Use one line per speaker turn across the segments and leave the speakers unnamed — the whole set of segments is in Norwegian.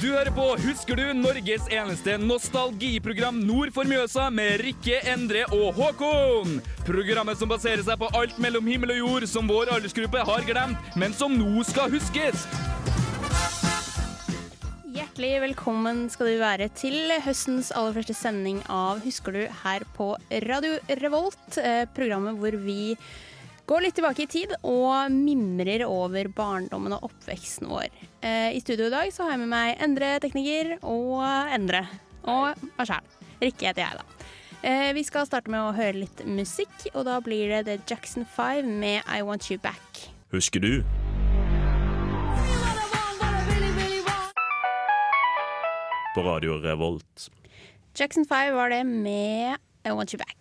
Du hører på Husker du? Norges eneste nostalgiprogram nord for Mjøsa med Rikke, Endre og Håkon. Programmet som baserer seg på alt mellom himmel og jord som vår aldersgruppe har glemt, men som nå skal huskes.
Hjertelig velkommen skal du være til høstens aller første sending av Husker du her på Radio Revolt. eh, Programmet hvor vi går litt tilbake i tid og mimrer over barndommen og oppveksten vår. Eh, I studio i dag så har jeg med meg Endre tekniker og Endre. Og meg sjæl. Rikke heter jeg, da. Eh, Vi skal starte med å høre litt musikk, og da blir det The Jackson 5 med I Want You Back.
Husker du? På Radio Revolt.
Jackson 5 var det med I Want You Back.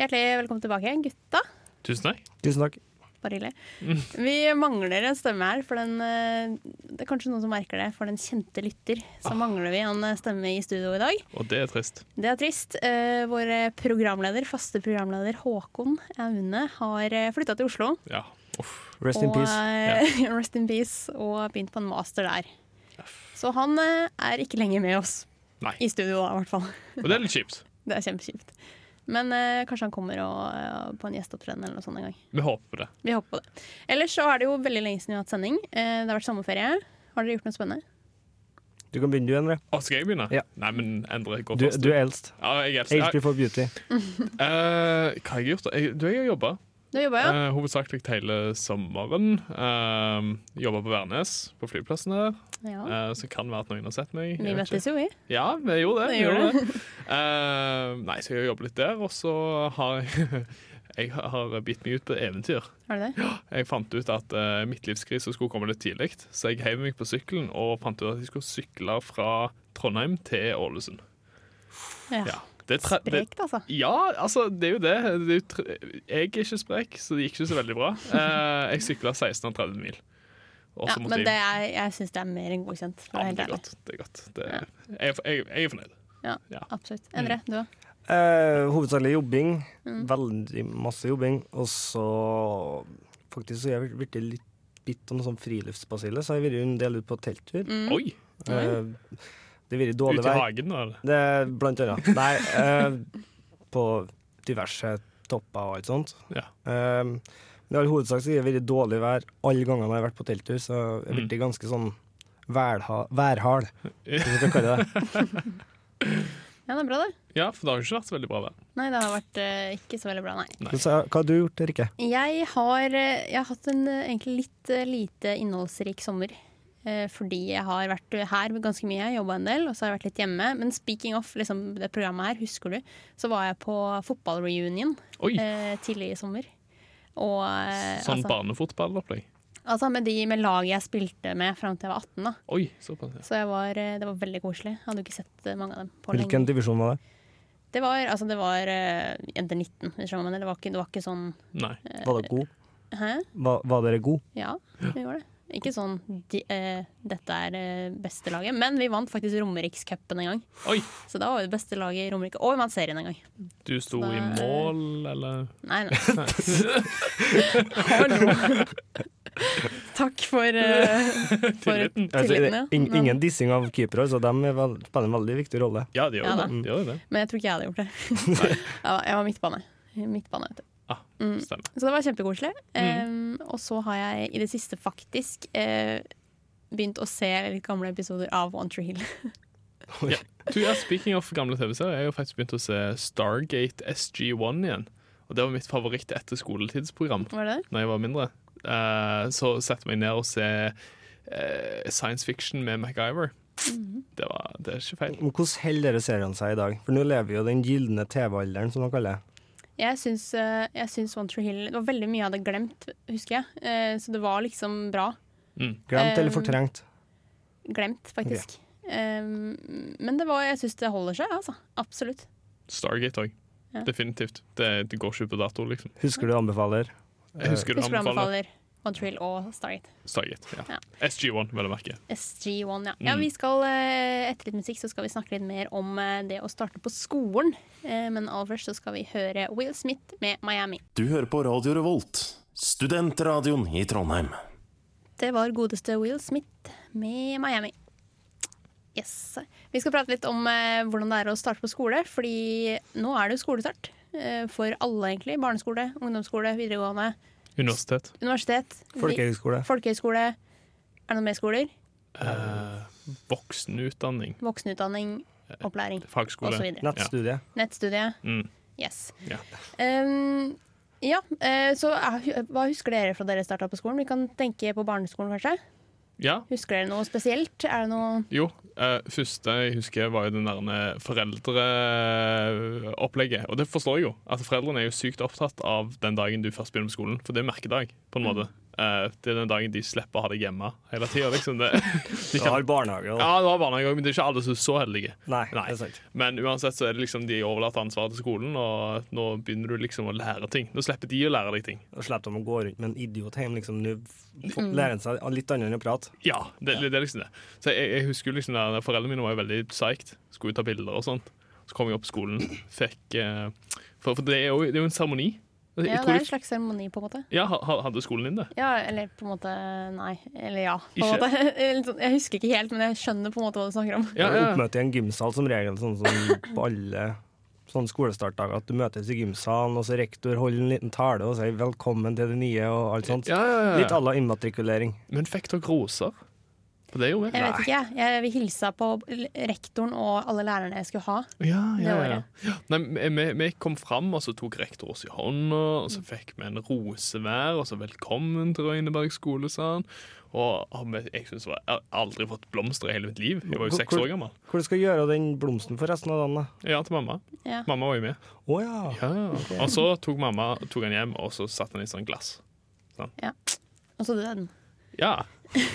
Hjertelig velkommen tilbake, gutta.
Tusen takk.
Tusen takk.
Bare hyggelig.
Mm.
Vi mangler en stemme her, for den eh, Det er kanskje noen som merker det, for den kjente lytter.
Ah.
Så mangler vi en eh, stemme i studio i dag.
Og det er trist.
Det er trist. Eh, Vår eh, programleder, faste programleder Håkon Aune har flytta til Oslo.
Ja. Uff.
Rest in
Og
peace.
eh, rest in peace, og har begynt på en master der. Så han eh, er ikke lenger med oss.
Nei.
I studio, da, i hvert fall.
Og det er litt kjipt.
Det er kjempekjipt. Men eh, kanskje han kommer og, eh, på en gjesteopptreden eller noe sånt en gang.
Vi håper på det.
Vi håper på det. Ellers så er det jo veldig lenge siden vi har hatt sending. Eh, Det har vært sommerferie. Har dere gjort noe spennende?
Du kan begynne, du, Endre.
Å, Altså, skal jeg begynne?
Ja.
Nei, men Endre går
Du,
først.
du er eldst.
Ja, jeg er eldst.
Age before beauty.
Ja, eh, hva har jeg gjort? da? Jeg, du, jeg har jobba.
Du har jobba, ja?
Eh, hovedsakelig hele sommeren. Uh, jobba på Værnes, på flyplassen der.
ja.
Eh, så kan være at noen har sett meg.
Vi
jeg vet
møttes jo, vi.
ikke. Ja, vi gjorde det.
Det
Vi
gjorde
gjorde det. Eh, nei, så jeg har jobbet litt der, og så har jeg Jeg har bitt meg ut på eventyr.
Har du det?
Jeg fant ut at uh, midtlivskrise skulle komme litt tidlig, så jeg heiv meg på sykkelen og fant ut at jeg skulle sykle fra Trondheim til Ålesund.
Ja.
Ja. Det er tre- det,
Sprekt, altså.
ja, altså, det er jo det. det er jo tre, jeg er ikke sprek, så det gikk ikke så veldig bra. Eh, jeg sykla 1630 mil. Og
Ja,
så måtte
men det
jeg
er, jeg syns det er mer enn godkjent. For
ja,
å være helt
men det er
ærlig.
godt. Det er godt. Det, jeg, er- jeg, jeg er fornøyd.
Ja,
Ja. Mm.
absolutt. Endre, du òg?
Eh, hovedsakelig jobbing.
Mm.
Veldig masse jobbing. Og så faktisk så er jeg blitt litt bitt av noe sånn friluftsbasille, så jeg har vært en del ute på telttur.
Mm.
Oi!
Eh, det har vært dårlig
Ute i
vær.
hagen, da. eller?
Det er blant annet. Nei, eh, på diverse topper og alt sånt.
Ja.
Eh, men i all hovedsak så har det vært dårlig vær alle gangene jeg har vært på telttur, så jeg
Mm.
har blitt ganske sånn værha- værhard, hvis vi kan kalle det det.
Ja, det er bra, det.
Ja, for det har jo ikke vært så veldig bra vær.
Nei, det har vært eh, ikke så veldig bra, nei.
Nei.
Men så- Hva har du gjort, Rikke?
Jeg har, eh, jeg har hatt en eh, egentlig litt eh, lite innholdsrik sommer. eh, Fordi jeg har vært her ganske mye, jobba en del, og så har jeg vært litt hjemme. Men speaking of liksom, det programmet her, husker du, så var jeg på fotballreunion
Oi!
eh, tidlig i sommer. Og eh,
Sånn
altså,
barnefotballopplegg.
altså med de med laget jeg spilte med fram til jeg var 18, da.
Oi, såpass. Ja.
Så jeg var, eh, det var veldig koselig. Jeg hadde jo ikke sett eh, mange av dem på
Hvilken
lenge.
divisjon var det?
Det var, altså, det var eh, jenter 19, hvis du skjønner hva jeg mener. Det var ikke, det var ikke sånn
Nei.
Var det god?
Hæ?
Var, var dere god?
Ja, vi var det. Ikke sånn de, eh, 'dette er eh, beste laget', men vi vant faktisk Romerikscupen en gang.
Oi!
Så da var vi det beste laget i Romerike. Og vi vant serien en gang.
Du
Så
sto
da-
i mål, eller?
Nei, nei. Hallo. Takk for, eh, for
Tilliten.
Altså,
tilliten. Ja.
det- in,
Men,
ingen dissing av keepere, så de er vel, spiller en veldig viktig rolle.
Ja, det gjør
Ja
jo
da.
det. det, gjør jo det.
men jeg tror ikke jeg hadde gjort det. Ja, jeg var midtbane. midtbane vet du.
Ah,
Mm.
Stemmer.
Så det var kjempekoselig.
Mm.
Eh, og så har jeg i det siste faktisk eh, begynt å se litt gamle episoder av One Tree Hill.
Du, ja, speaking of gamle TV-serier, jeg har jo faktisk begynt å se Stargate SG1 igjen. Og Det var mitt favoritt etter skoletidsprogram
Var det det?
Når jeg var mindre. Eh, så setter jeg meg ned og ser eh, science fiction med MacGyver.
Mhm.
Det, var, det er ikke feil.
Men hvordan holder dere seriene seg i dag? For nå lever vi jo den gylne TV-alderen, som man kaller det.
Jeg syns, eh, jeg syns One Tree Hill Det var veldig mye jeg hadde glemt, husker jeg. Eh, Så det var liksom bra.
Glemt eller
Eh,
fortrengt?
Glemt, faktisk. Eh, Men det var, jeg syns det holder seg, altså. Absolutt.
Stargate òg.
Ja.
Definitivt. Det, det går ikke ut på dato, liksom.
Husker du anbefaler?
Jeg husker du
Husker du
anbefaler
anbefaler One Tree Hill og Stargate.
Stargate.
Ja.
Ja. SG1, vel å merke.
SG1, ja. ja vi skal, eh, etter litt musikk så skal vi snakke litt mer om eh, det å starte på skolen. Eh, Men aller først så skal vi høre Will Smith med Miami.
Du hører på Radio Revolt, studentradioen i Trondheim.
Det var godeste Will Smith med Miami. Yes. Vi skal prate litt om eh, hvordan det er å starte på skole, fordi nå er det jo skolestart. eh, For alle, egentlig. Barneskole, ungdomsskole, videregående,
Universitet.
universitet. vi-
Folkehøgskole.
Folkehøyskole. Er det noen mer skoler?
Eh, voksenutdanning.
Voksenutdanning, opplæring
Fagskole.
osv.
Nettstudie.
Nettstudie.
Eh, Mm.
Yes.
Ja.
Um, ja, eh, så eh, Hva husker dere fra dere starta på skolen? Vi kan tenke på barneskolen, kanskje.
ja.
Husker dere noe spesielt? Er det noe
Jo. eh, første jeg husker, var jo den der foreldreopplegget. Og det forstår jeg jo. At foreldrene er jo sykt opptatt av den dagen du først begynner på skolen. For det er merkedag, på en måte. Eh, det er den dagen de slipper å ha deg hjemme hele tida. Liksom. Det- De
Du har
kan-
barnehage og
Ja, det var barnehage òg, men det er ikke alle som er så heldige.
Nei, det
Nei.
er sant.
Men uansett så er det liksom de overlater ansvaret til skolen, og nå begynner du liksom å lære ting. Nå slipper de å lære deg ting.
Og slipper de å gå rundt med en idiot hjem. Liksom, Nå f-
Mm.
lærer han seg litt annet enn å prate.
Ja, det, det er liksom det. Så jeg, jeg husker jo liksom der, Foreldrene mine var jo veldig psyched. Skulle ut ta bilder og sånt. Så kom jeg opp på skolen, fikk eh, For, for det, er jo, det er jo en seremoni. Altså, Jeg
Ja, det
tror
er
de-
en slags seremoni, på en måte.
ja, ha- ha- hadde skolen din det?
Ja, eller på en måte nei. Eller ja. På en
Ikke?
måte. Litt sånn- Jeg husker ikke helt, men jeg skjønner på en måte hva du snakker om.
Ja, ja.
Oppmøte i en gymsal som regel, sånn som på alle sånne skolestartdager. At du møtes i gymsalen, og så rektor holder en liten tale og sier 'velkommen til det nye' og alt sånt.
Ja, ja,
Litt
ja.
à la immatrikulering.
Men fikk dere roser? For det gjorde
Jeg
vi.
vet ikke, jeg. Jeg- Vi hilsa på rektoren og alle lærerne jeg skulle ha.
Ja, ja,
Det
ja.
året.
ja. Nei, vi, vi- vi kom fram, og så tok rektor oss i hånda, og
Mm.
så fikk vi en rose hver, og så 'velkommen til Røyneberg skole', sa han. Og og vi- jeg, synes det var, jeg har aldri fått blomster i hele mitt liv. Jeg var jo
Hvor-
seks år gammel.
Hvor du skal gjøre av den blomsten for resten av dagen, da?
Ja, til mamma.
Ja.
Mamma var jo med.
Å ja.
Og så tok mamma tok han hjem, og så satte han i sånn glass.
Og så døde den.
Ja,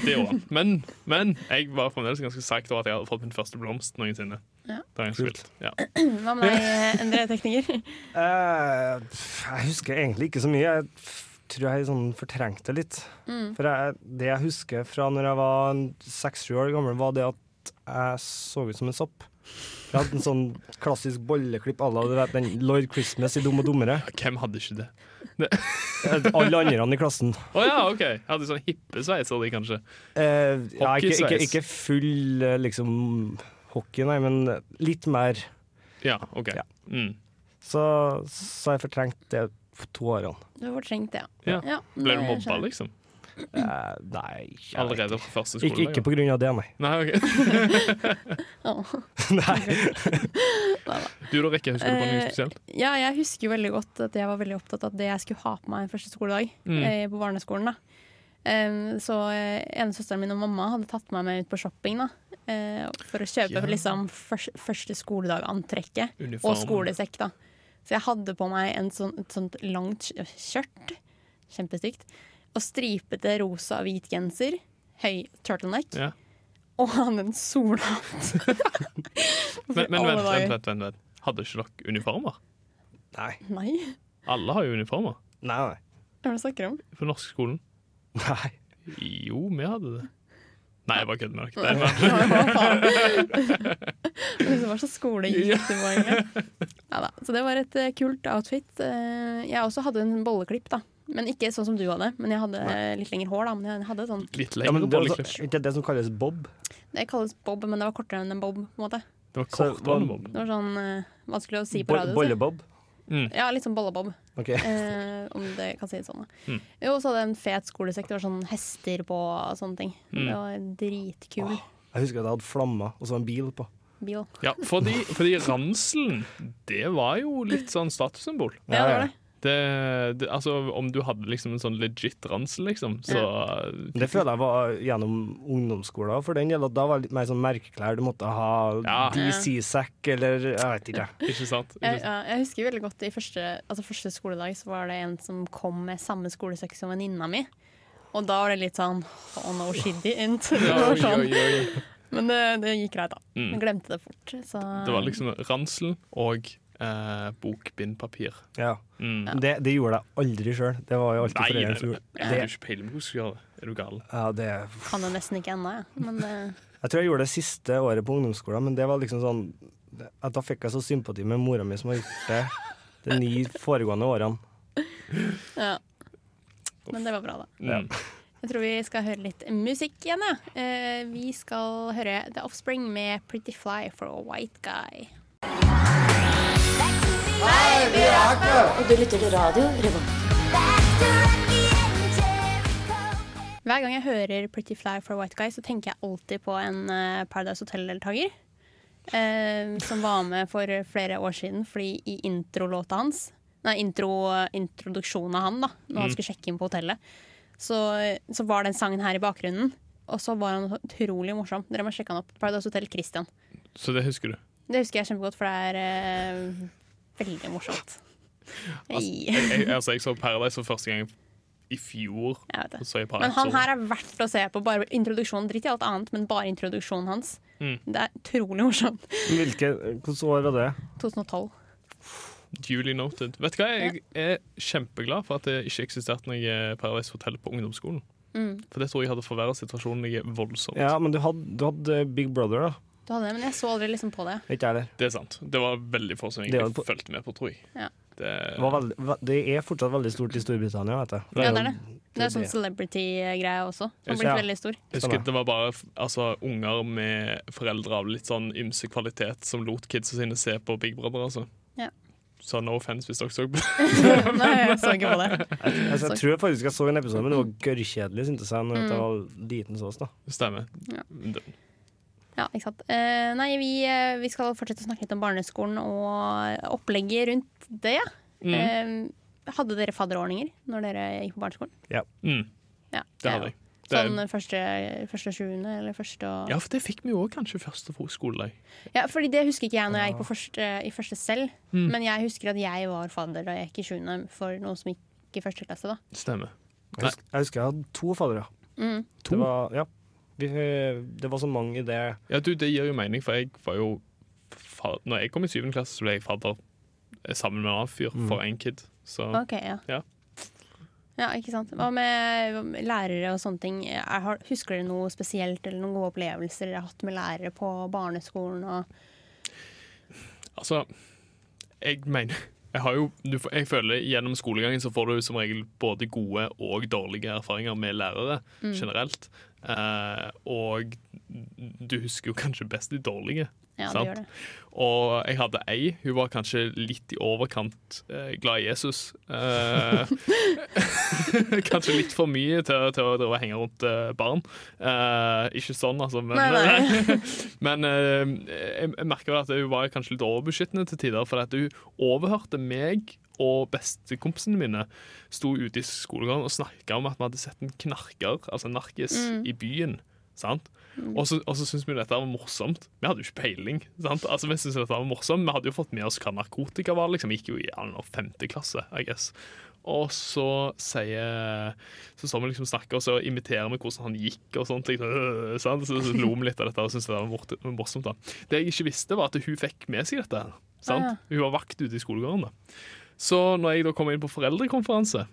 det gjorde han. Men, men jeg var fremdeles ganske psyched over at jeg hadde fått min første blomst noensinne.
Ja.
Det var ganske
Kult.
vilt. Ja.
Hva med deg, Endre tekniker?
Eh, pff, jeg husker egentlig ikke så mye. Jeg f- tror jeg sånn fortrengte litt.
Mm.
For jeg, det jeg husker fra når jeg var seks-sju år gammel, var det at jeg så ut som en sopp. Jeg hadde en sånn klassisk bolleklipp à la du vet, den Lord Christmas i Dum og dummere.
Hvem hadde ikke det?
Eh, Alle andre i klassen.
Å ja, OK. Jeg hadde sånn hippesveiser, de, kanskje.
Eh, ja, ikke, ikke,
Hockeysveis.
ikke full eh, liksom hockey, nei, men litt mer.
Ja, OK.
Ja.
Mm.
Så, så jeg fortrengte det på to årene.
Du har fortrengt det,
Ja. Ble du
det
mobba,
skjønner jeg.
liksom?
Eh, nei jeg vet
Allerede på første
Ikke,
skoledag?
ikke
ja.
på grunn av det, nei.
Nei, ok.
Åh.
nei.
Du da, Rikke, husker du på noe
Eh,
spesielt?
Ja, jeg husker jo veldig godt at jeg var veldig opptatt av det jeg skulle ha på meg første skoledag
Mm.
eh, på barneskolen. da. Em, så eh, ene søsteren min og mamma hadde tatt meg med ut på shopping da, eh, for å kjøpe
Ja.
liksom, først, første skoledag-antrekket
Uniform.
og skolesekk. da. Så jeg hadde på meg en sånn, et sånt langt skj- skjørt, kjempestygt, og stripete rosa og hvit genser, høy turtleneck,
Ja.
og hadde en solhatt.
Men,
Alle
men vent,
dager.
vent, vent, vent, vent. Hadde ikke dere uniformer?
Nei.
Nei,
Alle har jo uniformer
Nei.
hva er det du snakker om?
på norskskolen.
Nei.
Jo, vi hadde det. Nei, jeg bare kødder med dere. Det er bare-
Hva faen? Det var så skole gikk det var egentlig. Ja da. Så det var et eh, kult outfit. Eh, jeg også hadde en bolleklipp, da. Men ikke sånn som du hadde. Men jeg hadde eh, litt lengre hår, da. Men jeg hadde sånn
Litt
Ja,
lengre
men det, er også,
bolleklipp.
er ikke det som kalles bob?
Det kalles bob, men det var kortere enn en bob. på en måte
Det var
Så
kortere
var-
enn bob.
Det var sånn eh, vanskelig å si på
Bo
radio. så-
bollebob?
Ja, litt sånn bollebob,
Ok.
eh, om det kan sies sånn. da.
Mm.
Jo, og så hadde jeg en fet skolesekk. Det var sånn hester på og sånne ting. Det var en dritkul
Jeg husker at jeg hadde flammer og så en bil på.
bil.
Ja, fordi, fordi ranselen, det var jo litt sånn statussymbol.
Ja, det var det.
Det, det, altså, om du hadde liksom en sånn legit ransel, liksom, så
Det føler jeg var gjennom ungdomsskolen. For den del at da var det litt mer sånn merkeklær. Du måtte ha
Ja.
DC-sekk eller jeg vet ikke.
Ikke sant? Ikke
Jeg,
sant?
ja, jeg husker veldig godt i første, altså første skoledag så var det en som kom med samme skolesekk som venninna mi. Og da var det litt sånn Oh no, she didn't. Det
Ja,
var
oi,
sånn.
oi, oi.
Men det, det gikk greit, da.
Mm.
Jeg glemte det fort. Så
Det var liksom ransel og eh, bokbindpapir.
Ja.
Mm.
Det, det gjorde jeg aldri sjøl. Det var jo alltid
Nei,
foreldrene som
jeg
gjorde
har
det.
ikke peiling på hvordan du skal gjøre det. Er du gal?
Ja, det.
kan det nesten ikke ennå, jeg. Men eh, det,
Jeg tror jeg gjorde det siste året på ungdomsskolen, men det var liksom sånn at Da fikk jeg så sympati med mora mi som har gjort det de ni foregående årene.
ja. Men det var bra, da.
Mm.
Jeg tror vi skal høre litt musikk igjen. Ja. Eh, vi skal høre The Offspring med 'Pretty Fly for a White Guy'.
Du lytter til radio Revolt.
Hver gang jeg hører 'Pretty Fly for a White Guy', så tenker jeg alltid på en eh, Paradise Hotel-deltaker. eh, som var med for flere år siden, fordi i introlåta hans Nei, intro, introduksjonen av han, da, når han skulle sjekke inn på hotellet, så, så var den sangen her i bakgrunnen. Og så var han så utrolig morsom. Dere må sjekke han opp. Paradise Hotel Christian.
Så det husker du.
Det husker jeg kjempegodt, for det er eh, veldig morsomt. Hei.
Jeg, jeg, altså, jeg så Paradise for første gang i fjor.
Jeg vet det.
Og så i
Men
Paradise
han
Hotel.
her er verdt å se på. Bare introduksjonen. Drit i alt annet, men bare introduksjonen hans.
Mm.
Det er utrolig morsomt.
Hvilke, hvilket år var det?
2012.
Duly noted. Vet du hva, jeg er kjempeglad for at det ikke eksisterte noe eh, Paradise Hotel på ungdomsskolen.
Mm.
For det tror jeg hadde forverret situasjonen noe voldsomt.
Ja, men du hadde, du hadde eh, Big Brother, da.
Du hadde det, men jeg så aldri liksom på det.
Ikke jeg der.
Det er sant. Det var veldig få som
Det var
egentlig
på-
fulgte med på, tror jeg.
Ja.
Det,
Det, var veldig, ve- det er fortsatt veldig stort i Storbritannia, vet jeg.
Ja, det er
jo-
det. Det er sånn celebrity-greie også. Den har blitt
Ja.
veldig stor.
jeg husker det var bare f- altså, unger med foreldre av litt sånn ymse kvalitet som lot kidsa sine se på Big Brother, altså.
Ja.
Så no offense hvis dere så på
Nei, jeg så ikke på det.
Altså, jeg tror jeg faktisk jeg så en episode, men det var gørrkjedelig, syntes jeg, når jeg var liten sås, da.
Stemmer.
Ja.
Det-
Ja, ikke sant. Eh, nei, vi, eh, vi skal fortsette å snakke litt om barneskolen og opplegget rundt det. Eh, hadde dere fadderordninger når dere gikk på barneskolen?
Mm,
Ja,
det hadde jeg. Det-
Sånn første, første sjuende eller første og
Ja, for det fikk vi jo òg kanskje første skoledag.
Ja, fordi det husker ikke jeg når jeg gikk på første, i første selv.
Mm.
Men jeg husker at jeg var fadder da jeg gikk i sjuende for noen som gikk i første klasse. da.
Stemmer.
Jeg husker, jeg husker jeg hadde to faddere.
Mm.
Det var, ja. Vi, eh, det var så mange i det
Ja, du, det gir jo mening, for jeg var jo fa- Når jeg kom i syvende klasse, så ble jeg fadder eh, sammen med en annen fyr
Mm.
for en kid. Så
Ok, ja.
Ja.
Ja, ikke sant. Hva med, hva med lærere og sånne ting? Er, har, husker dere noe spesielt eller noen gode opplevelser dere har hatt med lærere på barneskolen? Og,
altså Jeg mener jeg, har jo, du, får- jeg føler Gjennom skolegangen så får du som regel både gode og dårlige erfaringer med lærere generelt. Eh, og du husker jo kanskje best de dårlige.
ja, det
Sant.
gjør det.
Og jeg hadde ei, hun var kanskje litt i overkant eh, glad i Jesus. Eh, kanskje litt for mye til, til å drive og henge rundt eh, barn. Eh, ikke sånn, altså. Men,
Nei,
men eh, jeg, jeg merker vel at hun var kanskje litt overbeskyttende til tider, for at hun overhørte meg og bestekompisene mine sto ute i skolegården og snakka om at vi hadde sett en knarker, altså en narkis,
Mm.
i byen. Sant? Og så, og så syntes vi jo dette var morsomt. Vi hadde jo ikke peiling. Sant? Altså, Vi syntes dette var morsomt. Vi hadde jo fått med oss hva narkotika var. liksom. Vi gikk jo i I don't know, femte klasse, I guess. Og så sier Så står vi liksom og snakker, og så imiterer vi hvordan han gikk og sånt. Liksom, øh, sant? Så, så lo vi litt av dette og syntes det var mort- morsomt. da. Det jeg ikke visste, var at hun fikk med seg dette. her. Sant?
Ah,
Hun var vakt ute i skolegården. da. Så når jeg da kommer inn på foreldrekonferanse,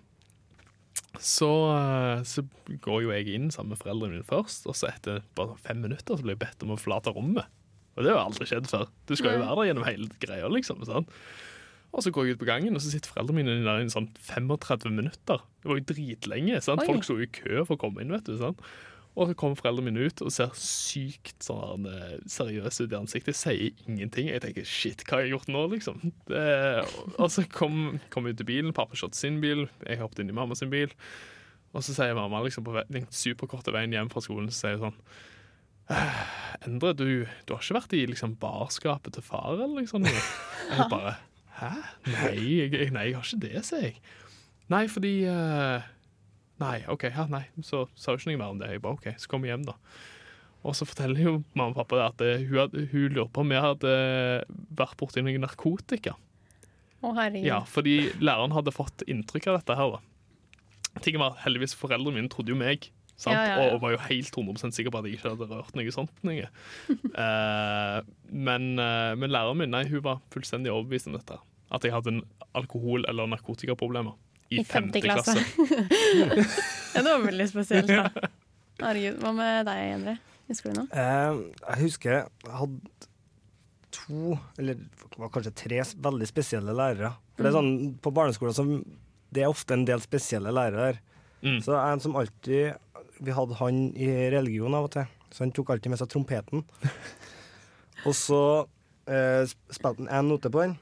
så, eh, så går jo jeg inn sammen med foreldrene mine først, og så etter bare fem minutter så blir jeg bedt om å forlate rommet. Og det har jo aldri skjedd før. Du skal jo være der gjennom hele greia, liksom. sant? Og så går jeg ut på gangen, og så sitter foreldrene mine der inne sånn 35 minutter. Det var jo dritlenge. sant?
Oi.
Folk sto jo i kø for å komme inn, vet du. sant? Og så kommer foreldrene mine ut og ser sykt sånn eh, seriøse ut i ansiktet. Sier ingenting. Jeg tenker 'shit, hva har jeg gjort nå', liksom. Det, og så kom, kom jeg ut til bilen. Pappa kjørte sin bil, jeg hoppet inn i mamma sin bil. Og så sier mamma liksom på ve- den superkorte veien hjem fra skolen så sier hun sånn «Eh, Endre, du, du har ikke vært i liksom barskapet til far, eller liksom noe? Jeg bare Hæ? Nei, jeg, nei, jeg har ikke det, sier jeg. Nei, fordi eh, Nei, OK, ja, nei. Så sa hun ikke noe mer om det. Jeg bare OK, så kom vi hjem, da. Og så forteller jo mamma og pappa det at eh, hun, hadde, hun lurer på om vi hadde eh, vært borti noe narkotika.
Å, herregud.
Ja, fordi læreren hadde fått inntrykk av dette her, da. Tingen var at heldigvis foreldrene mine trodde jo meg. Sant?
Ja, ja, ja.
Og var jo helt 100 sikker på at jeg ikke hadde rørt noe sånt. Noe. Eh, men, eh, men læreren min nei, hun var fullstendig overbevist om dette. her. At jeg hadde en alkohol- eller narkotikaproblemer i, femte klasse.
ja, det var veldig spesielt, da. Herregud. Hva med deg, Endre? Husker du noe?
Eh, Jeg husker jeg hadde to, eller det var kanskje tre, s- veldig spesielle lærere. For
Mm.
det er sånn, På barneskolen så det er ofte en del spesielle lærere der.
Mm.
Så en som alltid vi hadde han i religion av og til, så han tok alltid med seg trompeten. og så eh, sp- spilte han én note på den,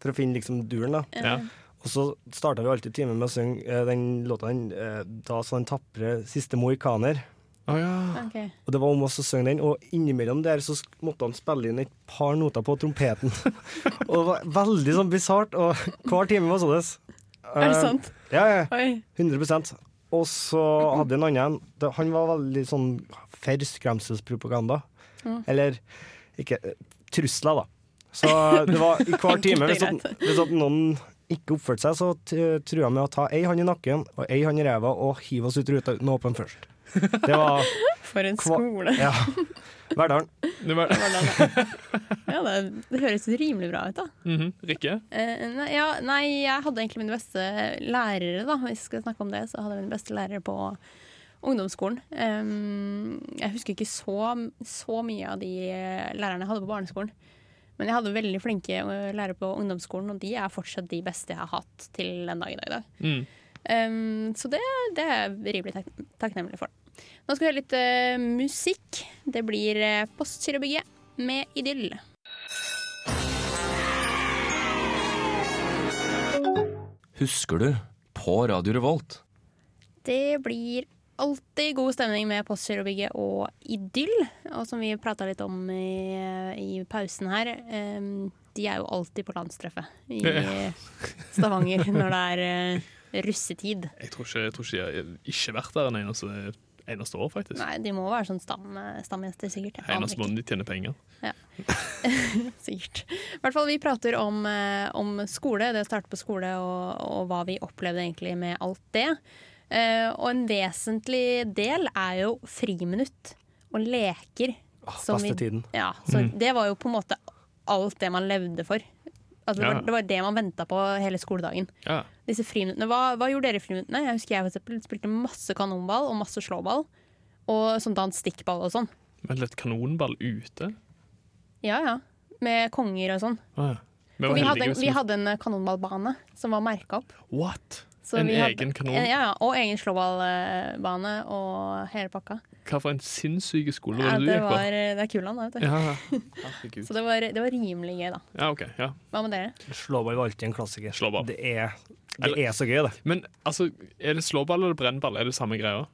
for å finne liksom duren, da.
Ja.
Og så starta vi alltid timen med å synge eh, den låta han eh, da sa den tapre 'Siste mohikaner'.
Å ja.
Ok.
Og det var om oss å synge den, og innimellom der så sk- måtte han spille inn et par noter på trompeten. og det var veldig sånn bisart, og hver time var sånn. Eh,
Er
Eh,
det sant?
Ja, ja.
Oi.
100 Og så hadde jeg en annen en. Det- Han var veldig sånn for skremselspropaganda. Eller ikke eh, trusler, da. Så det var i hver time hvis,
Enkelt og
at, hvis at noen ikke oppførte seg, så t- trua med å ta ei hånd i nakken og ei hånd i ræva og hive oss ut ruta uten å åpne den først. Det var
For en
Kva-
skole.
Ja. Verdalen.
Det var,
Ja, det, det høres rimelig bra ut, da.
Mhm. Rikke?
Eh, nei, ja, nei, jeg hadde egentlig mine beste lærere, da. Hvis jeg skal snakke om det, så hadde jeg mine beste lærere på ungdomsskolen. Em, jeg husker ikke så, så mye av de eh, lærerne jeg hadde på barneskolen. Men jeg hadde veldig flinke eh, lærere på ungdomsskolen, og de er fortsatt de beste jeg har hatt til den dag i dag. i dag.
Mm.
Em, så det, det er jeg rimelig tak takknemlig for. Nå skal vi høre litt eh, musikk. Det blir uh, Postkirkebygget med Idyll.
Husker du? På Radio Revolt.
Det blir alltid god stemning med Postgirobygget og Idyll. Og som vi prata litt om i, i pausen her, em, de er jo alltid på landstreffet i
Ja.
Stavanger når det er eh, russetid.
Jeg tror ikke, jeg tror ikke jeg har ikke vært der en eneste, eneste år, faktisk.
Nei, de må være sånn stam, stamgjester, sikkert. Jeg aner
Eneste
ikke.
måten de tjener penger.
Sikkert. I hvert fall, vi prater om, eh, om skole, det å starte på skole og, og hva vi opplevde egentlig med alt det. Eh, og en vesentlig del er jo friminutt og leker. som
beste tiden.
Ja, så Det var jo på en måte alt det man levde for. At det,
Ja.
var, det var det man venta på hele skoledagen.
Ja.
Disse friminuttene, hva, hva gjorde dere i friminuttene? Jeg husker jeg for eksempel spilte masse kanonball og masse slåball. Og sånn dans stikkball og sånn.
Men litt kanonball ute?
Ja ja. Med konger og sånn.
Ah, ja. Vi var
Vi hadde,
heldige
en,
hvis
vi hadde en eh, kanonballbane som var merka opp.
What?
Så
en
vi hadde- eh,
egen kanon?
Ja, ja, og egen slåballbane og hele pakka.
Hva for en sinnssyk skole
Ja,
var det du
det,
gikk på?
var, eh, det er Kulan, da. Vet du.
Ja, herregud.
Så det var, det var rimelig gøy, da.
Ja, ok. Ja.
Hva med dere?
Slåball var alltid en klassiker.
Slåball.
Det er, det
Eller-
er så gøy, det.
Men altså, er det slåball eller brennball? Er det samme greia?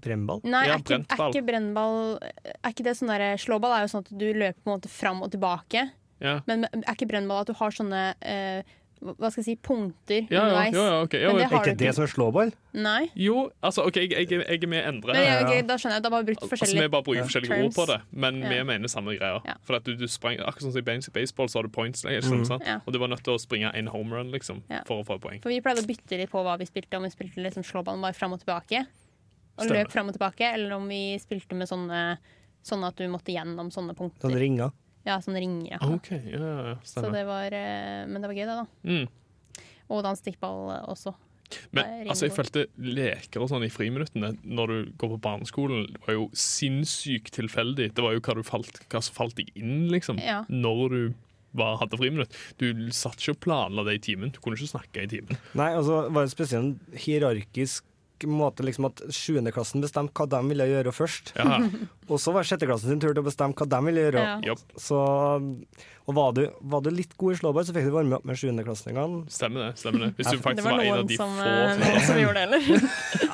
Brennball.
Nei,
Ja,
er ikke, er
brentball.
ikke brennball Er ikke det sånn derre Slåball er jo sånn at du løper på en måte fram og tilbake.
Ja.
Men er ikke brennball at du har sånne eh, hva skal jeg si, punkter
Ja, ja,
underveis?
ja, ja, ok. Ja,
Men
ja.
det har
Er
du
ikke det
ikke.
som er slåball?
Nei.
Jo, altså, OK, jeg, jeg, jeg er med Endre.
Men, ja, ok, da skjønner jeg. Da har vi brukt
Altså, vi
forskjellig.
bare bruker forskjellige
Terms.
ord på det, men
Ja.
vi mener samme greia.
Ja.
For at du, du sprang, akkurat som i bas- baseball, så har du points, ikke sant? sant?
Ja.
og du var nødt til å springe en home run liksom,
Ja.
for å få et poeng.
For vi pleide å bytte litt på hva vi spilte, om vi spilte liksom slåballen bare fram og tilbake. Og
Stemmer.
løp fram og tilbake, eller om vi spilte med sånne Sånn at du måtte gjennom sånne punkter.
Sånn ringer.
Ja, sånne ringer. Ja.
Ah, OK, ja, ja, ja,
Så
stemmer.
det var eh, Men det var gøy, det, da.
Mm.
Og dans stikkball også. Nei,
Men altså, jeg
rimelig.
følte leker og sånn i friminuttene når du går på barneskolen, det var jo sinnssykt tilfeldig. Det var jo hva, du falt, hva som falt deg inn, liksom,
Ja.
når du var, hadde friminutt. Du satt ikke og planla det i timen. Du kunne ikke snakke i timen.
Nei, altså, det var det spesielt en hierarkisk måte liksom at sjuendeklassen bestemte hva de ville gjøre først.
Ja,
Og så var sjetteklassen sin tur til å bestemme hva de ville gjøre.
Ja.
jobb.
Så, og var du, var du litt god i slåball, så fikk du varme opp med sjuendeklassingene.
Stemmer det. stemmer det. Hvis du
Det
faktisk
var
var, en
noen
av de
som,
få som
eh, som gjorde det, eller?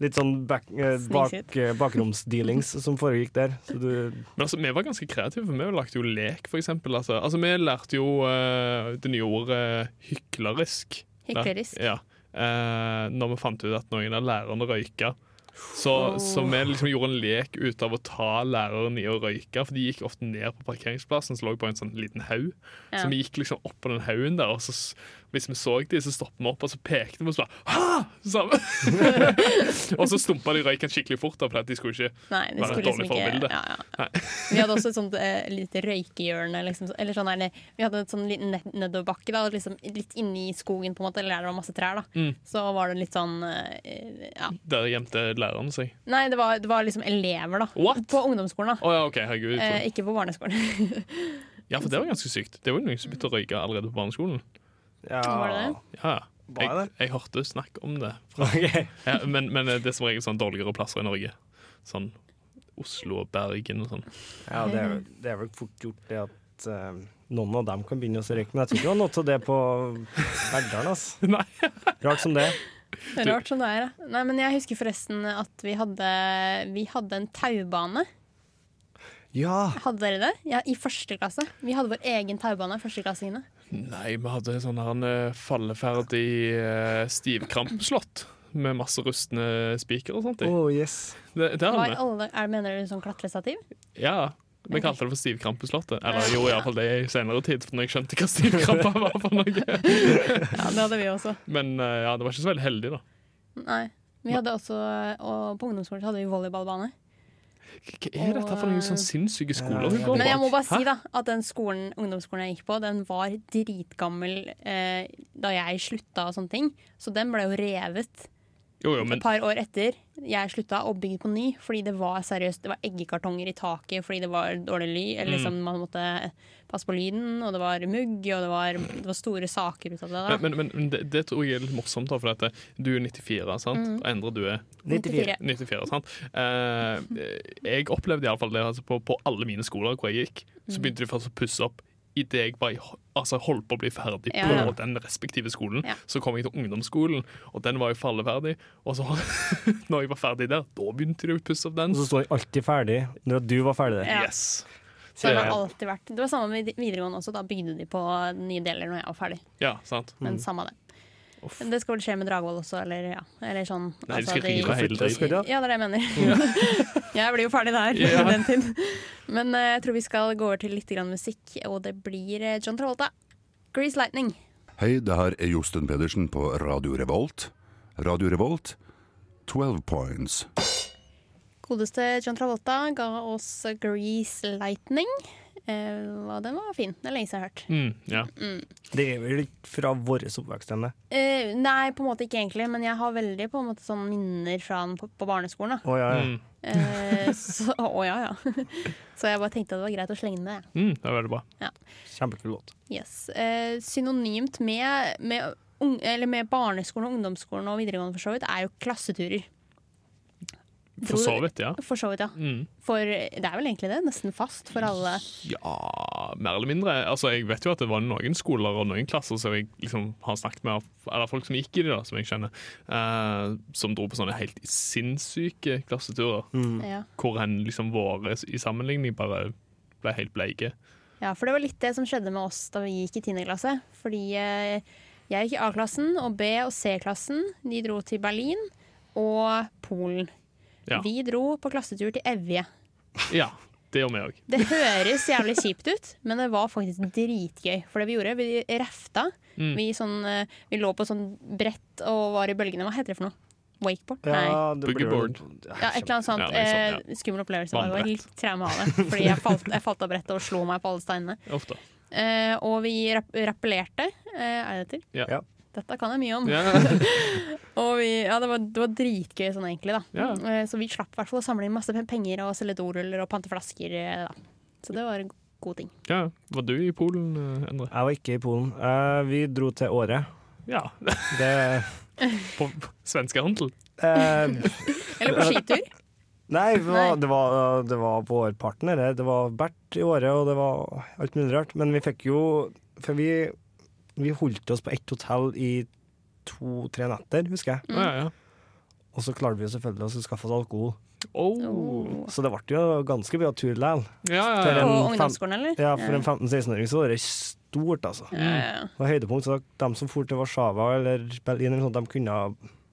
Litt sånn back, eh, bak,
Snikskritt.
eh, bakromsdealings som foregikk der. Så du,
Men altså, vi var ganske kreative, for vi lagde jo lek, for eksempel. Altså, altså vi lærte jo eh, det nye ordet hyklerisk.
Hyklerisk.
Ja. Eh, når vi fant ut at noen av lærerne røyka. Så, så vi liksom gjorde en lek ut av å ta læreren i å røyke, for de gikk ofte ned på parkeringsplassen, som lå på en sånn liten haug.
Ja.
Så vi gikk liksom opp på den haugen der, og så, s- hvis vi så de, så stoppet vi opp, og så pekte vi og så bare «Ha!» Så- Og så stumpa de røyken skikkelig fort, da, for at de skulle ikke
Nei, det
Var det
skulle
et
liksom
dårlig
ikke
forbilde?
ja, ja. Vi hadde også et sånt eh, lite røykehjørne. Liksom, eller sånn her, vi hadde et sånn liten ned- nedoverbakke da, og liksom, litt inni skogen, på en måte, eller der det var masse trær. da
Mm.
Så var det litt sånn eh, ja.
Der gjemte læreren seg.
Nei, det var, det var liksom elever, da.
What?
På ungdomsskolen, da.
Å ja, ok, herregud.
Eh, ikke på barneskolen.
Ja, for det var ganske sykt. Det var jo noen som begynte å røyke allerede på barneskolen.
ja.
Var det det?
Ja,
Var
Jeg,
det?
jeg hørte snakk om det,
Ok.
ja, men, men det er som regel sånn dårligere plasser i Norge. Sånn Oslo og Bergen og sånn.
Ja, det er, vel- det er vel fort gjort det at eh, noen av dem kan begynne å røyke, men jeg tror ikke det var noe av det på Verdalen, ass.
Nei.
Rart som det.
Rart som det er, ja. Nei, men jeg husker forresten at vi hadde, vi hadde en taubane.
Ja.
Hadde dere det? Ja, I første klasse. Vi hadde vår egen taubane, førsteklassingene.
Nei, vi hadde sånn her en eh, falleferdig eh, stivkrampslott med masse rustne spiker og sånt. i.
Oh, yes.
Det, det
Var
hadde vi.
alle, er, mener dere sånn klatrestativ?
Ja, vi kalte det for stivkrampeslottet. Eller jo, iallfall det i senere tid, for når jeg skjønte hva stivkrampa var for noe.
Ja, det hadde vi også.
Men eh, ja, det var ikke så veldig heldig, da.
Nei. Vi hadde også, og på ungdomsskolen så hadde vi volleyballbane.
Hva er dette for noen sånn sinnssyke skoler hun går
Men jeg må bare
Hæ?
si da, at den skolen, ungdomsskolen jeg gikk på, den var dritgammel eh, da jeg slutta og sånne ting. Så den ble jo revet
Jo, jo, men
et par år etter jeg slutta og bygd på ny. Fordi det var seriøst, det var eggekartonger i taket fordi det var dårlig ly.
Mm.
Eller liksom, man måtte passe på lyden, og det var mugg, og det var, det var store saker ut av det. Da.
Men, men, men- men det, det tror jeg er litt morsomt, da, for at du er 94, sant?
Mm.
og Endre du er
94.
94. sant? Eh, jeg opplevde iallfall det altså på, på alle mine skoler hvor jeg gikk.
Mm.
Så begynte de først å pusse opp idet jeg var, i- altså holdt på å bli ferdig
Ja,
på
ja.
den respektive skolen.
Ja.
Så kom jeg til ungdomsskolen, og den var jo falleferdig. Og så, når jeg var ferdig der, da begynte de å pusse opp den.
Og så står jeg alltid ferdig når at du var ferdig der.
Ja.
Yes.
Så det har
Ja.
alltid vært Det var samme med videregående også. Da bygde de på nye deler når jeg var ferdig.
Ja, sant.
Men samme det. Men Det skal vel skje med Dragvoll også, eller ja. Eller sånn.
Nei, de skal rive hele
Det
Altså,
skal de ha.
Ja, det er det jeg mener. jeg blir jo ferdig der
Ja.
den tiden. Men eh, jeg tror vi skal gå over til litt grann musikk, og det blir eh, John Travolta. Grease Lightning.
Hei, det her er Josten Pedersen på Radio Revolt. Radio Revolt, 12 points.
Godeste John Travolta ga oss Grease Lightning. Eh, og den var fin. Det er lenge siden jeg har hørt.
Mm, ja.
Det er vel ikke fra vår oppvekst ennå.
Eh, nei, på en måte ikke egentlig, men jeg har veldig på en måte sånn minner fra den på, på barneskolen. da.
Å ja, ja.
Mm,
Eh, så, å, ja, ja. så jeg bare tenkte at det var greit å slenge den med.
mm, det er veldig bra.
Kjempekul låt.
Yes. Eh, synonymt med, med, ung- eller med barneskolen, og ungdomsskolen og videregående for så vidt, er jo klasseturer.
For så vidt, ja.
For så vidt, ja.
Mm.
For det er vel egentlig det. Nesten fast for alle.
Ja, mer eller mindre. Altså, jeg vet jo at det var noen skoler og noen klasser som jeg liksom har snakket med, eller folk som gikk i de, da, som jeg kjenner, eh, som dro på sånne helt sinnssyke klasseturer,
Ja.
hvor en liksom våre i sammenligning bare ble helt bleike.
Ja, for det var litt det som skjedde med oss da vi gikk i 10. klasse. Fordi eh, jeg gikk i A-klassen, og B- og C-klassen de dro til Berlin og Polen.
Ja.
Vi dro på klassetur til Evje.
ja, det gjør vi òg.
Det høres jævlig kjipt ut, men det var faktisk dritgøy. For det vi gjorde, vi refta.
Mm.
Vi, sånn, eh, vi lå på sånn brett og var i bølgene. Hva heter det for noe? Wakeboard? Nei.
Ja, det blir vel-
Ja, et eller annet sånt.
Ja, det er sant,
eh, Skummel opplevelse. Det var
Vannbrett.
litt traume av det. Fordi jeg falt, jeg falt av brettet og slo meg på alle steinene.
Ofte.
Eh, og vi rap rappellerte. eh, er det til?
Ja.
Ja.
Dette kan jeg mye om.
Ja.
Og vi, ja, det, var, det var dritgøy sånn egentlig. da.
Ja.
Eh, så vi slapp i hvert fall å samle inn masse pe- penger og selge doruller og pante flasker. eh, da. Så det var en god ting.
ja. Var du i Polen, eh, Endre?
Jeg var ikke i Polen. Eh, vi dro til Åre.
Ja.
Det
På på svenskehandel?
eh,
Eller på skitur.
Nei, det var, det var, det var på årparten, eller? Det var Bert i Åre, og det var alt mulig rart. Men vi fikk jo For vi, vi holdt oss på ett hotell i to-tre netter, husker jeg.
Ja, ja.
Og så klarte vi jo selvfølgelig oss å skaffe oss alkohol.
Oh.
Så det ble jo ganske mye tur likevel.
Ja, ja,
Til
ja.
en
På
fem-
ungdomsskolen, eller?
Ja, for en 15-16-åring så var det stort, altså.
Ja, ja, ja.
Det var høydepunkt, så de som for til Warszawa eller Berlin, eller sånt, de kunne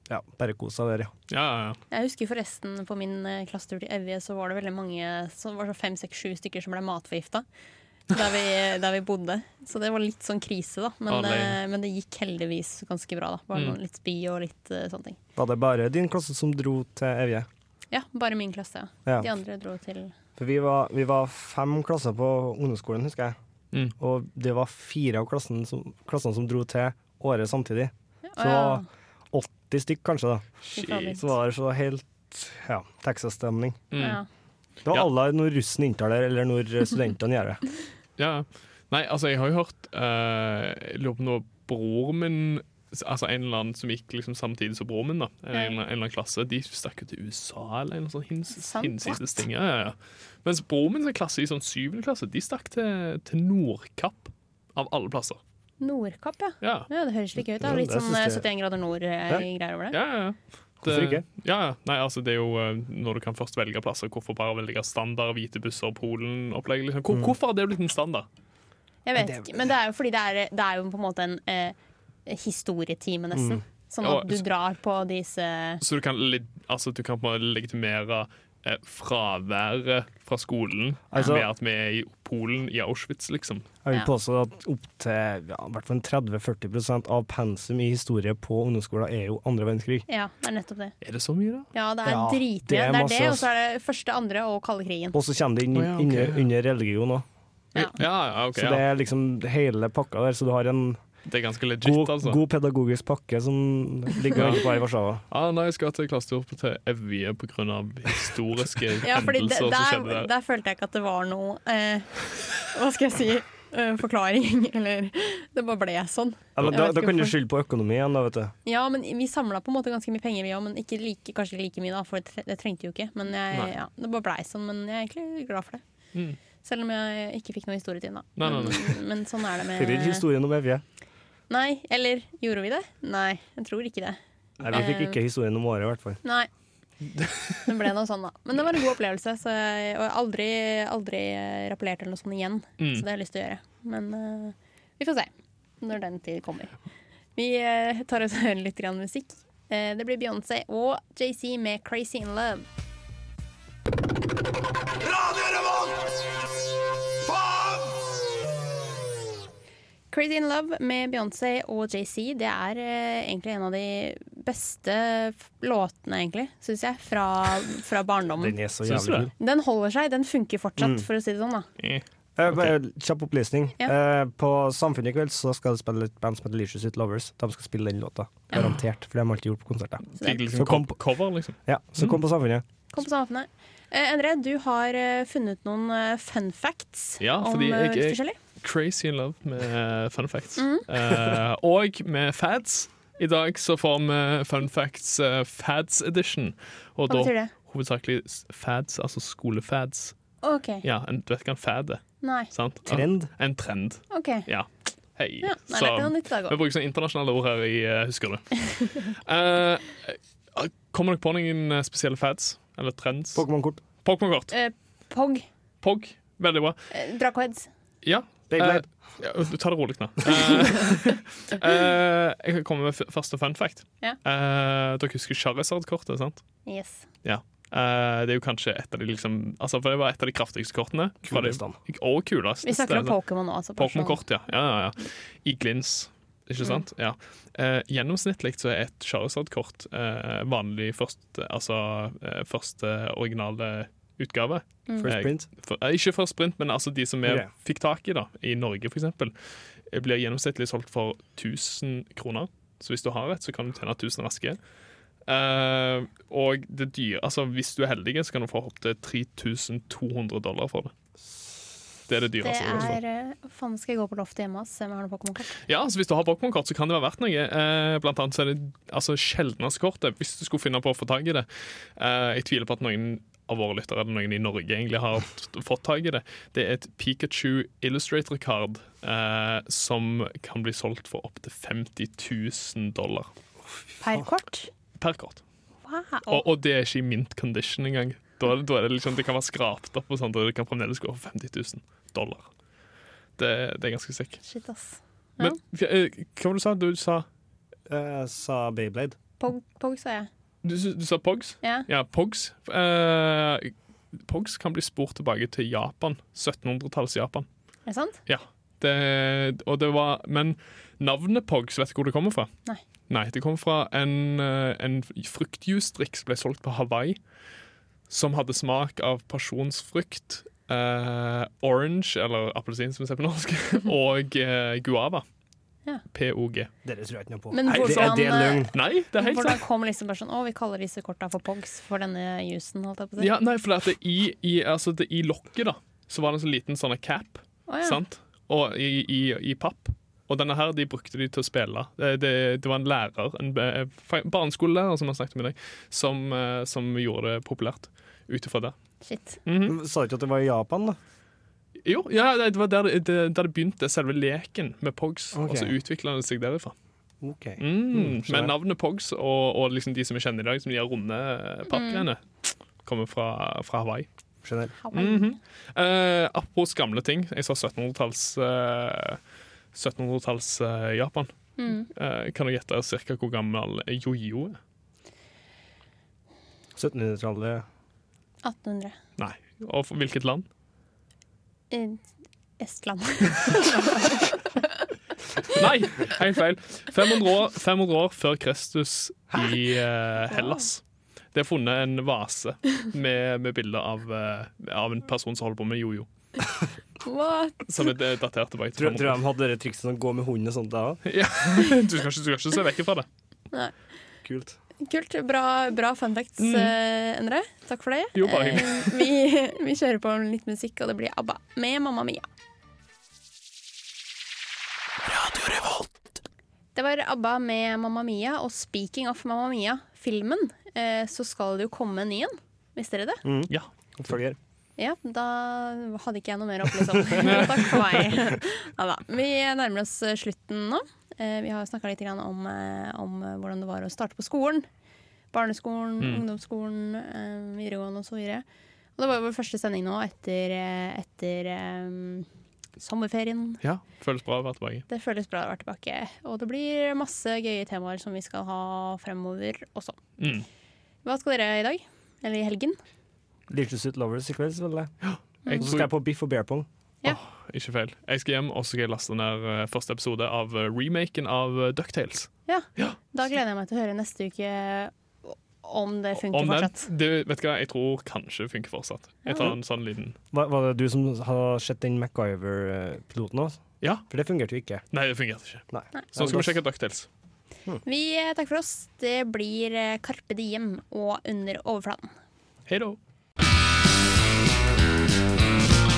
ja, bare kose seg der, ja.
ja, ja.
Jeg husker forresten på min eh, klassetur til Evje så var det veldig mange som var sånn fem, seks, sju stykker som ble matforgifta. Der vi, der vi bodde. Så det var litt sånn krise, da. Men,
Alle.
eh, men det gikk heldigvis ganske bra. da Bare
Mm.
noen- Litt spy og litt eh, sånne ting.
Var det bare din klasse som dro til Evje?
Ja, bare min klasse. ja.
Ja.
De andre dro til
For vi var, vi var fem klasser på ungdomsskolen, husker jeg.
Mm.
Og det var fire av klassen som, klassene som dro til året samtidig. Så
Å, ja.
80 stykk kanskje, da.
Fy fader.
Så var det så helt ja, Texas-stemning.
Ja.
Det var
Ja.
alle når russen inntar det, eller når studentene gjør det.
Ja. Nei, altså, jeg har jo hørt eh, Jeg lurer på noe bror min altså en eller annen som gikk liksom samtidig som broren min, da, en,
Ja.
en, en eller annen klasse, de stakk jo til USA eller en sånn hins,
Sant,
hinsides ting. Ja, ja, ja. Mens broren min sin klasse i sånn syvende klasse, de stakk til, til Nordkapp, av alle plasser.
Nordkapp, ja.
Ja,
ja. Det høres slik ut. da.
Ja,
Litt
det
sånn
synes
eh,
jeg-
71 grader nord-greier over det.
ja, ja.
Hvorfor ikke?
Ja, ja. Nei, altså det er jo eh, Når du kan først velge plasser, hvorfor bare velge standard, hvite busser, Polen-opplegg? Liksom.
Mm.
Hvor, Hvorfor har det blitt en standard?
Jeg vet ikke, men det er jo fordi det er, det er jo på en måte en eh, historietime, nesten. Sånn
Ja,
at du
så-
drar på disse
Så du kan, li- altså, du kan på en måte legitimere eh, fraværet fra skolen
Altså-
med at vi er i Polen, i Auschwitz, liksom.
Jeg vil
Ja.
påstå at opptil ja, i hvert fall 30-40 av pensum i historie på ungdomsskolen er jo andre verdenskrig.
Ja, det er nettopp det.
Er det så mye, da?
Ja, det er
Ja,
dritmye.
det
Det
er
er
masse,
det, og
ass.
så er det første, andre og kalde krigen.
Og så kommer det inn,
Å ja, ok,
under,
ja.
under religion òg.
Ja.
Ja, ja, ok.
Så det
ja.
er liksom hele pakka der. Så du har en
Det er ganske legit,
god,
altså.
god pedagogisk pakke som ligger
Ja.
og venter i Warszawa.
Ah, nei, jeg skal til klassetur på- til Evje pga. historiske
Ja, fordi det,
hendelser som
der,
skjedde der.
der følte jeg ikke at det var noe eh, Hva skal jeg si? eh, forklaring, eller Det bare ble sånn.
Ja, men
Jeg
da,
vet
da
ikke
kan du
hvorfor.
skylde på økonomi igjen, da, vet du.
Ja, men vi samla på en måte ganske mye penger, vi òg, men ikke like, kanskje ikke like mye, da, for det tre- det trengte jo ikke. Men jeg,
Nei.
ja, det bare blei sånn, men jeg er egentlig glad for det.
Mm.
Selv om jeg ikke fikk noe historietid, da.
Nei, nei,
Men, men sånn er det
Det er ikke
med
historien om Evje.
Nei, eller gjorde vi det? Nei, jeg tror ikke det.
Nei, vi fikk
Eh.
ikke historien om året, i hvert fall.
Nei. Det ble noe sånn, da. Men det var en god opplevelse, så jeg, og jeg har aldri, aldri eh, rappellert eller noe sånt igjen.
Mm.
Så det har jeg lyst til å gjøre. Men eh, vi får se når den tid kommer. Vi eh, tar oss og hører litt grann musikk. Eh, det blir Beyoncé og JC med 'Crazy in Love'. Crazy in Love med Beyoncé og JC det er eh, egentlig en av de beste f- låtene, egentlig, syns jeg, fra, fra barndommen.
Den er så
Syns du
jævlig
det?
kul.
Den holder seg, den funker fortsatt, for å si det sånn. da
Eh,
Eh, bare Kjapp opplysning.
Ja.
Eh, på Samfunnet i kveld så skal det spille et band som heter Licious Ut Lovers. De skal spille den låta. Garantert, for det har de alltid gjort på konserter.
Så det-
Fikk liksom
Så kom-
co- cover, liksom.
Ja, så kom på Samfunnet.
Kom på samfunnet. Eh, Endre, du har eh, funnet noen eh, fun facts
Ja,
om
fordi
eh,
jeg-
litt
jeg-
forskjellig.
Crazy in love med eh, fun facts. Eh, og med fads. I dag så får vi fun facts eh, fads edition. Og
Hva betyr
da
det?
hovedsakelig s- fads, altså skolefads.
OK.
Ja, en, du vet hva en fad er,
Nei.
sant?
Trend.
Ja, en trend.
OK.
Ja. Hei.
Ja, nei,
Så-
det er noe nytt i dag
vi
òg.
bruker sånne internasjonale ord her i eh, Husker du. Eh, eh, kommer dere på noen eh, spesielle fads? Eller trends?
Pokémon-kort.
Pokémon-kort.
Eh, Pog.
Pog. Veldig bra.
Eh, Dracoheads.
Ja. eh,
Beyblade.
ja, du tar det rolig nå. Eh, eh, jeg kan komme med f- første fun fact.
Ja.
Eh, dere husker Charizard-kortet, sant?
Yes.
Eh, det er jo kanskje et av de liksom Altså, for det var et av de kraftigste kortene. Fra det-
Kulest, da.
Og kulest.
Vi snakker om Pokémon nå, altså.
Pokémon-kort, ja. ja, ja, ja. I glins,
Mm.
ikke sant? Ja. Eh, gjennomsnittlig så er et Charizard-kort eh, vanlig første, altså, eh, første originale utgave.
First
Mm.
Eh,
print.
For, eh, ikke først sprint, men altså de som vi
Ok.
fikk tak i da, i Norge f.eks., blir gjennomsnittlig solgt for 1000 kroner. Så hvis du har et, så kan du tjene 1000 raske. Eh, og det dyre altså Hvis du er heldig, så kan du få opptil 3200 dollar for det. Det er det
Det
dyreste. altså.
er eh, Faen, skal jeg gå på loftet hjemme og se om jeg har noe Pokémon-kort?
Ja, altså Hvis du har Pokémon-kort, så kan det være verdt noe. Eh, blant annet så er det altså, sjeldneste kortet, hvis du skulle finne på å få tak i det. Eh, jeg tviler på at noen av våre lyttere eller noen i Norge egentlig har t- fått tak i det. Det er et Pikachu Illustrator-card eh, som kan bli solgt for opptil 50 000 dollar
Per kort?
per kort.
Wow.
Og, og det er ikke i mint condition engang. Da, er det- da er det liksom, det kan være skrapt opp, og sånt, og det kan fremdeles gå for 50 000 dollar. Det, det er ganske sick.
Shit, ass. Ja.
Men eh, hva var det du sa? Du sa
Jeg Eh, sa Beyblade.
Pog, Pog sa jeg.
Du, s- du sa Pogs?
Ja.
Ja, Pogs. Eh, Pogs kan bli spurt tilbake til Japan. 1700-tallets Japan.
Er det sant?
Det, og det var, men navnet Pogs, vet du hvor det kommer fra?
Nei.
Nei, Det kommer fra en, eh, en fruktjusdrikk som ble solgt på Hawaii, som hadde smak av pasjonsfrukt, eh, orange, eller appelsin som vi ser på norsk, og eh, guava.
Ja.
POG.
Dere tror jeg ikke noe på.
Men
Nei, det, er
hvordan,
det
eh,
løgn?
Nei, det er helt sant.
Hvordan kom liksom bare sånn Å, vi kaller disse korta for Pogs for denne jusen, holdt jeg på å si.
Ja, nei, for at det, i, i, altså det, i lokket da Så var det en sånn liten sånn cap
Å, ja.
sant? Og i, i, i papp Og Og denne her, de brukte de til å spille. Det, det, det var en lærer, en be- fa- barneskolelærer som jeg snakket med deg, som, eh, som gjorde det populært ut ifra det.
Shit.
Mm. Mhm.
Sa du ikke at det var i Japan, da?
Jo, ja, det var der det, det, der det begynte, selve leken med Pogs.
Ok.
Og så utvikla det seg derifra.
OK.
Mm,
skjønner.
men navnet Pogs og, og liksom de som vi kjenner i dag, som de her runde eh, pappgreiene, kommer fra, fra Hawaii.
Skjønner.
Hawaii.
Mhm. Eh, apropos gamle ting. Jeg sa 1700-talls eh, 1700-talls eh, Japan. Eh, kan du gjette cirka hvor gammel jojo er?
1700-tallet
1800.
Nei. Og for hvilket land?
Eh, Estland.
Nei, helt feil. 500 år, 500 år før Kristus i eh, Hellas. Det er funnet en vase med, med bilde av, eh, av en person som holder på med jojo.
What?
Som er eh, datert tilbake til
Tror, tror
500 år.
de hadde det trikset å gå med hunden og sånt da òg.
Ja. Du, skal ikke, du skal ikke se vekk fra det.
Kult.
Kult. Bra, bra fun facts, eh, Endre. Takk for det.
Mm. Jo, bare hyggelig.
Eh, vi, vi kjører på litt musikk, og det blir ABBA med Mamma Mia. Det var ABBA med Mamma Mia, og speaking of Mamma Mia, filmen, eh, så skal det jo komme en ny en. Visste dere det?
Ja.
Følger.
Ja, da hadde ikke jeg noe mer å opplyse om. Takk for meg. Ja, da. Vi nærmer oss eh, slutten nå. Eh, Vi har snakka litt grann om, eh, om eh, hvordan det var å starte på skolen. Barneskolen, ungdomsskolen, eh, videregående og så videre. Og det var jo vår første sending nå etter, eh, etter eh, sommerferien.
ja. Føles bra å være tilbake.
Det føles bra å være tilbake. Og det blir masse gøye temaer som vi skal ha fremover også.
Mm.
Hva skal dere i dag? Eller i helgen?
Little Suit Lovers i kveld, selvfølgelig.
Jeg
Og så
tror-
skal jeg på Biff og Bear Pong.
Ikke feil. Jeg skal hjem og så skal jeg laste ned eh, første episode av eh, remaken av eh, DuckTales.
Ja.
Ja.
Da gleder jeg meg til å høre neste uke om det funker
Om den-
fortsatt.
Du, vet du hva, jeg tror kanskje funker fortsatt. Jeg tar en sånn liten
Var, var det du som har sett den MacGyver-piloten òg?
Ja.
For det fungerte jo ikke.
Nei, det fungerte ikke.
Nei.
Så skal vi sjekke DuckTales.
Vi eh, takker for oss. Det blir eh, Karpe Diem og Under overflaten.
Hei da.